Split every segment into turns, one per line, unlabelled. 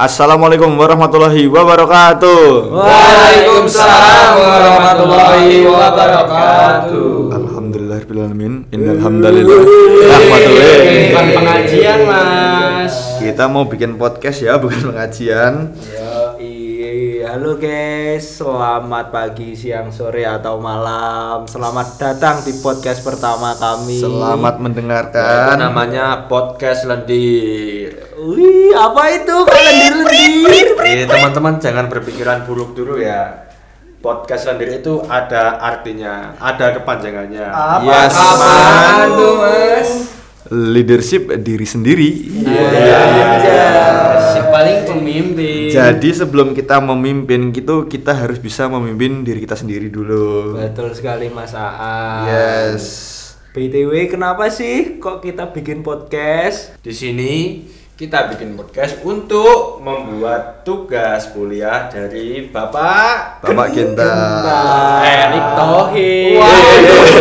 Assalamualaikum warahmatullahi wabarakatuh.
Waalaikumsalam warahmatullahi wabarakatuh.
Alhamdulillahirrahmanirrahim. Innal hamdalillah. Rahmatulillah.
Bukan pengajian mas.
Kita mau bikin podcast ya, bukan pengajian.
Yoi, Halo guys, selamat pagi, siang, sore atau malam. Selamat datang di podcast pertama kami.
Selamat
Itu
mendengarkan.
namanya podcast lendir.
Wih, apa itu kalian dilendir?
Eh, teman-teman jangan berpikiran buruk dulu ya. Podcast lendir itu ada artinya, ada kepanjangannya. Iya,
Apa?
Yes,
Apaan
man.
tuh mas?
Leadership diri sendiri. Iya.
Si paling pemimpin.
Jadi sebelum kita memimpin gitu, kita harus bisa memimpin diri kita sendiri dulu.
Betul sekali Mas Aan.
Yes.
BTW kenapa sih kok kita bikin podcast?
Di sini kita bikin podcast untuk membuat tugas kuliah dari Bapak
Bapak kita.
Erik Thohir.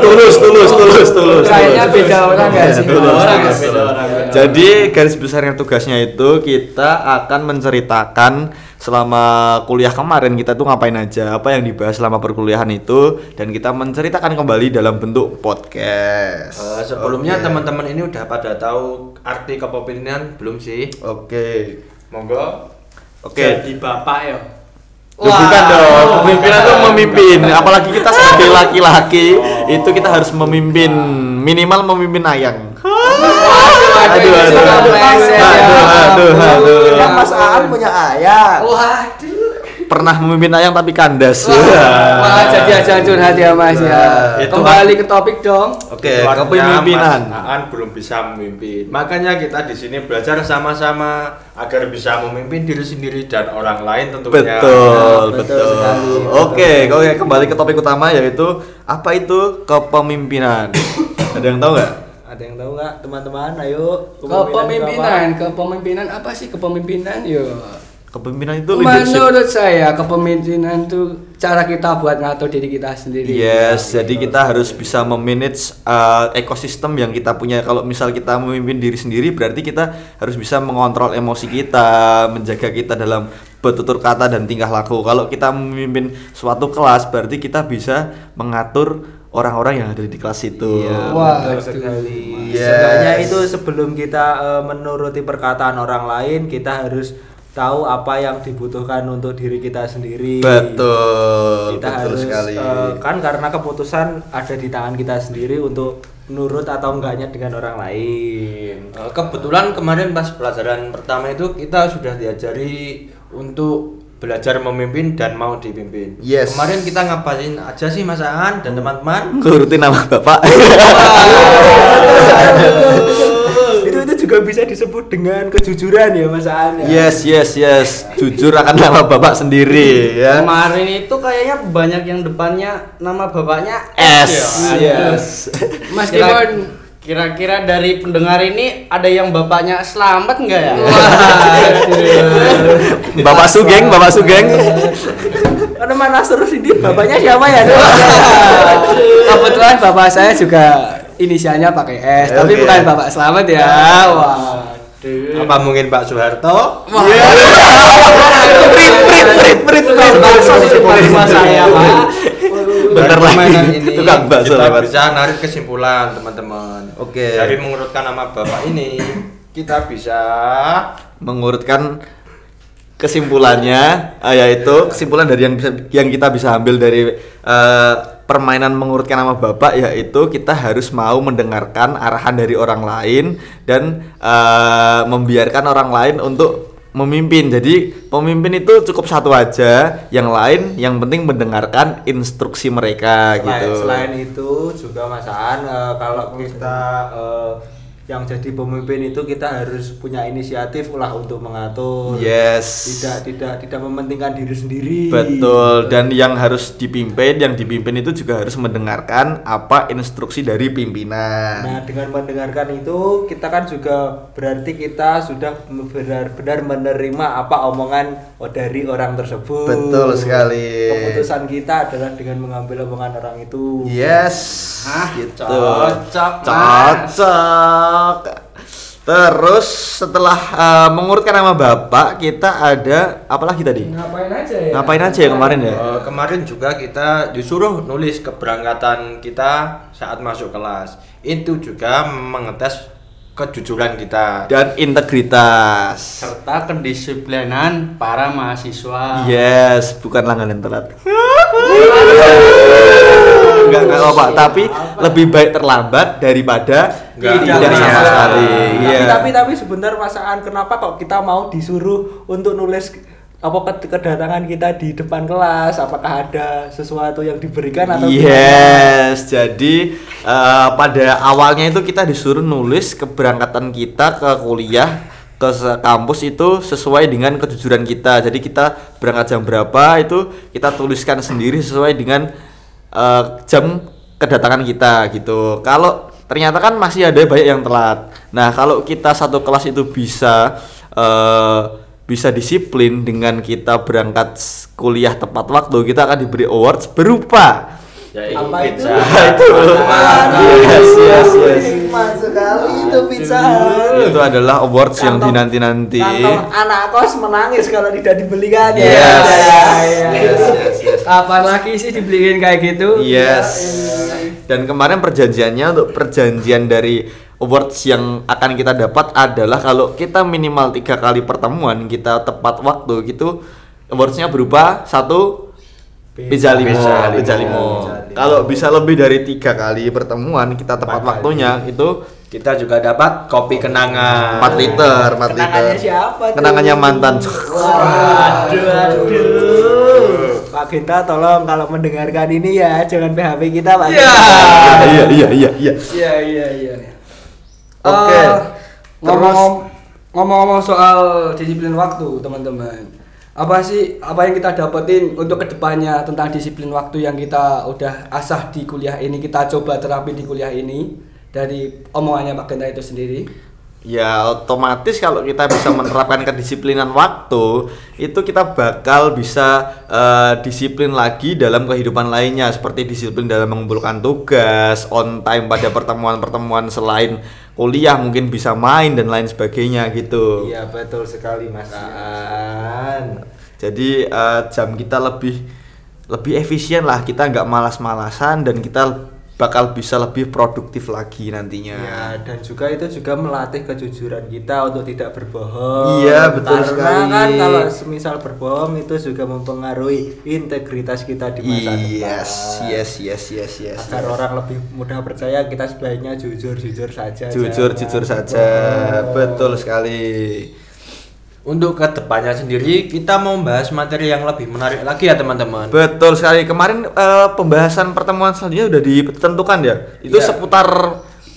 Tulus, tulus, tulus, tulus.
Kayaknya
tulus.
beda orang nggak sih?
Tulus,
Beda orang
tulus,
ya, beda
tulus.
orang, beda
Jadi garis besarnya tugasnya itu kita akan menceritakan selama kuliah kemarin kita tuh ngapain aja, apa yang dibahas selama perkuliahan itu dan kita menceritakan kembali dalam bentuk podcast.
Eh, sebelumnya
Oke.
teman-teman ini udah pada tahu arti kepemimpinan belum sih?
Oke.
Monggo.
Oke.
bapak ya.
Loh, bukan
Oh,
dong, pemimpin itu memimpin. Apalagi kita sebagai laki-laki, itu kita harus memimpin, minimal memimpin ayang.
Aduh,
aduh,
aduh,
aduh.
ya.
Aduh, aduh, aduh.
Yang Kan Mas Aan punya ayah.
Pernah memimpin ayang tapi kandas. Iya.
Malah jadi aja hancur hati ya Mas ya.
Itu
Kembali ke topik dong.
Oke,
Keluarga
kepemimpinan.
Mas Aan belum bisa memimpin. Makanya kita di sini belajar sama-sama agar bisa memimpin diri sendiri dan orang lain tentunya. Nah,
Betul,
Ya, betul
betul.
sekali, betul.
Oke, oke kembali ke topik utama yaitu apa itu kepemimpinan. Ada yang tahu nggak?
Ada yang tahu nggak teman-teman? Ayo.
Kepemimpinan, kepemimpinan apa sih kepemimpinan yo?
Kepemimpinan itu leadership.
Menurut saya kepemimpinan itu cara kita buat ngatur diri kita sendiri.
Yes, jadi kita harus bisa memanage uh, ekosistem yang kita punya. Kalau misal kita memimpin diri sendiri, berarti kita harus bisa mengontrol emosi kita, menjaga kita dalam bertutur kata dan tingkah laku. Kalau kita memimpin suatu kelas, berarti kita bisa mengatur orang-orang yang ada di kelas itu.
Betul
Wah, aduh.
sekali.
Yes.
Seenggaknya itu sebelum kita eh, menuruti perkataan orang lain, kita harus tahu apa yang dibutuhkan untuk diri kita sendiri.
Betul,
Kita
betul
harus
sekali.
eh, kan karena keputusan ada di tangan kita sendiri untuk nurut atau enggaknya dengan orang lain.
Eh, Kebetulan kemarin pas pelajaran pertama itu kita sudah diajari untuk belajar memimpin dan mau dipimpin.
Yes. Hmm.
Kemarin kita ngapain aja sih Mas Aan dan teman-teman?
Turutin nama bapak.
itu itu juga bisa disebut dengan kejujuran ya Mas Aan. ya?
yes, yes, yes. Jujur akan nama bapak sendiri ya.
Kemarin itu kayaknya banyak yang depannya nama bapaknya
S.
Ya, aduh.
Yes.
Meskipun
Kira-kira dari pendengar ini ada yang bapaknya selamat nggak ya?
Bapak Sugeng, Bapak Sugeng.
Ada mana seru ini bapaknya siapa ya?
kebetulan bapak saya juga inisialnya pakai S, tapi
Oke.
bukan bapak Selamat ya. Wah.
Iya.
Apa mungkin Pak Soeharto?
Prit, prit, prit, prit.
Iya.
Bakso di depan rumah saya, Pak.
Bentar
Dari
lagi
permainan ini,
tukang bakso
kita
lewat.
bisa narik kesimpulan teman-teman.
Oke.
Dari mengurutkan nama bapak ini kita bisa
Mengurutkan kesimpulannya eh, yaitu kesimpulan dari yang bisa yang kita bisa ambil dari eh, permainan mengurutkan nama bapak yaitu kita harus mau mendengarkan arahan dari orang lain dan eh, membiarkan orang lain untuk memimpin. Jadi pemimpin itu cukup satu aja, yang lain yang penting mendengarkan instruksi mereka
selain,
gitu.
Nah, selain itu juga Mas Aan eh, kalau kita eh, yang jadi pemimpin itu kita harus punya inisiatif lah untuk mengatur
Yes.
tidak tidak tidak mementingkan diri sendiri
Iya.
Betul. Dan yang harus dipimpin, yang dipimpin itu juga harus mendengarkan apa instruksi dari pimpinan.
nah dengan mendengarkan itu kita kan juga berarti kita sudah benar-benar menerima apa omongan dari orang tersebut
Betul sekali.
keputusan kita adalah dengan mengambil omongan orang itu
Iya, Yes. gitu.
cocok,
Cocok. Terus setelah eh, mengurutkan nama bapak kita ada apa lagi tadi?
Ngapain aja ya?
Ngapain aja ya kemarin ya?
Eh, kemarin juga kita disuruh nulis keberangkatan kita saat masuk kelas. Itu juga mengetes kejujuran kita.
Dan integritas.
serta kedisiplinan para mahasiswa.
Yes, bukan langganan telat. Enggak enggak apa, tapi lebih baik terlambat daripada
Nggak.
tidak
Tidak
sama
sama.
sekali.
Tapi,
Iya.
tapi tapi sebentar Mas Aan, kenapa kok kita mau disuruh untuk nulis apa ke- kedatangan kita di depan kelas? Apakah ada sesuatu yang diberikan atau
Iya. Yes, jadi eh, pada awalnya itu kita disuruh nulis keberangkatan kita ke kuliah ke se- kampus itu sesuai dengan kejujuran kita. Jadi kita berangkat jam berapa itu kita tuliskan sendiri sesuai dengan eh, jam kedatangan kita gitu. Kalau ternyata kan masih ada banyak yang telat. Nah kalau kita satu kelas itu bisa eh, bisa disiplin dengan kita berangkat s- kuliah tepat waktu kita akan diberi awards berupa
Yaitu
Apa itu?
pizza.
itu yes yes yes
Nikmat sekali itu pizza. Hut.
itu adalah awards yang
Kantong-
dinanti nanti
Nah,
kantong anak kos menangis kalau tidak dibelikan ya.
Yes.
Ya, ya, ya.
yes yes yes
Iya, Kapan lagi sih dibeliin kayak gitu?
yes dan kemarin perjanjiannya untuk perjanjian dari awards yang akan kita dapat adalah kalau kita minimal tiga kali pertemuan kita tepat waktu gitu awardsnya berupa satu Pizza limo,
Pizza limo.
pizza limo. Kalau bisa lebih dari tiga kali pertemuan kita tepat
Empat kali.
waktunya itu
Kita juga dapat kopi kenangan.
4 liter, 4 liter.
Kenangannya siapa tuh?
Kenangannya mantan.
Waduh, aduh. Pak Genta tolong kalau mendengarkan ini ya jangan PHP kita Pak.
Iya, iya, iya, iya, iya.
Iya iya iya.
Oke.
Eh,
Terus-
ngomong ngomong-ngomong soal disiplin waktu, teman-teman. Apa sih apa yang kita dapetin untuk kedepannya tentang disiplin waktu yang kita udah asah di kuliah ini kita coba terapi di kuliah ini dari omongannya Pak Genta itu sendiri.
Ya otomatis kalau kita bisa menerapkan kedisiplinan waktu itu kita bakal bisa eh, disiplin lagi dalam kehidupan lainnya seperti disiplin dalam mengumpulkan tugas on time pada pertemuan-pertemuan selain kuliah mungkin bisa main dan lain sebagainya gitu.
Iya betul sekali Mas
Iya.
Aan.
Jadi eh, jam kita lebih lebih efisien lah kita nggak malas-malasan dan kita bakal bisa lebih produktif lagi nantinya.
Ya, dan juga itu juga melatih kejujuran kita untuk tidak berbohong.
Iya, betul
Karena
sekali.
kan kalau semisal berbohong itu juga mempengaruhi integritas kita di masa
Yes,
depan.
yes, yes, yes, yes.
Agar orang lebih mudah percaya kita sebaiknya jujur-jujur saja.
Jujur,
jangan
jujur saja. Betul sekali.
Untuk kedepannya sendiri kita mau membahas materi yang lebih menarik lagi ya teman-teman.
Betul sekali. Kemarin eh, pembahasan pertemuan selanjutnya udah ditentukan ya. Itu
Iya.
seputar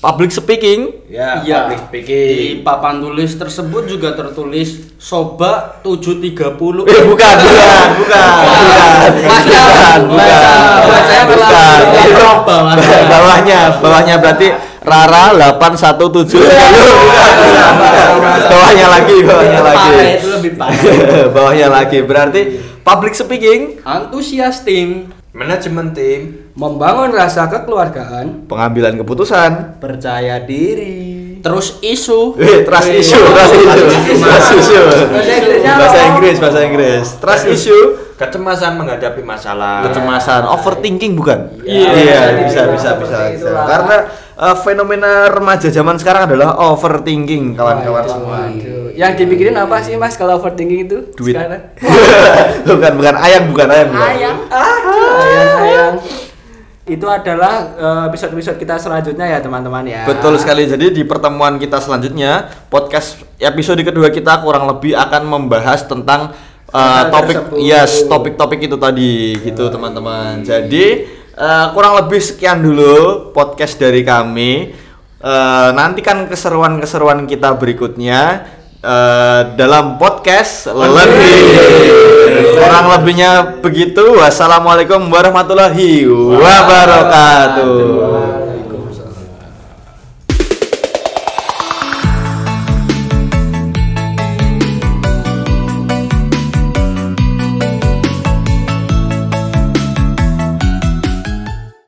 public speaking.
Ya,
Iya.
public
Di
speaking.
papan tulis tersebut juga tertulis Soba 730.
Eh bukan, bukan, bukan, bukan,
Mas,
bukan, bukan,
bacanya telah- telah drop bawahnya.
bawahnya, bawahnya berarti Rara 817
Iya,
Bukan, bukan, bukan. bawahnya lagi, bawahnya
Lebih
lagi,
parah, itu lebih parah.
bawahnya lagi. Berarti public speaking,
Antusias tim.
Manajemen tim
Membangun rasa kekeluargaan
pengambilan keputusan,
Percaya diri.
Terus isu.
Eh, trust
Iya,
issue, trust issue, trust issue, bahasa Inggris, bahasa Inggris, trust issue,
kecemasan menghadapi masalah
kecemasan, overthinking bukan?
Iya.
bisa,
Iya,
bisa, bisa,
seperti
bisa.
itulah.
Karena eh, fenomena remaja zaman sekarang adalah overthinking, kawan-kawan semua.
iya.
Waduh, yang dipikirin apa sih mas kalau overthinking itu
Duit.
sekarang?
bukan, bukan ayam, bukan ayam. bukan.
Ayang-ayang.
Itu adalah eh, episode-episode kita selanjutnya ya teman-teman ya.
Betul sekali. Jadi di pertemuan kita selanjutnya, podcast episode kedua kita kurang lebih akan membahas tentang uh,
Hal
topik
tersebut.
yes, topik-topik itu tadi gitu, teman-teman. Jadi uh, kurang lebih sekian dulu podcast dari kami. Uh, nantikan keseruan-keseruan kita berikutnya uh, dalam podcast lebih. Kurang lebihnya begitu. Wassalamualaikum warahmatullahi wabarakatuh.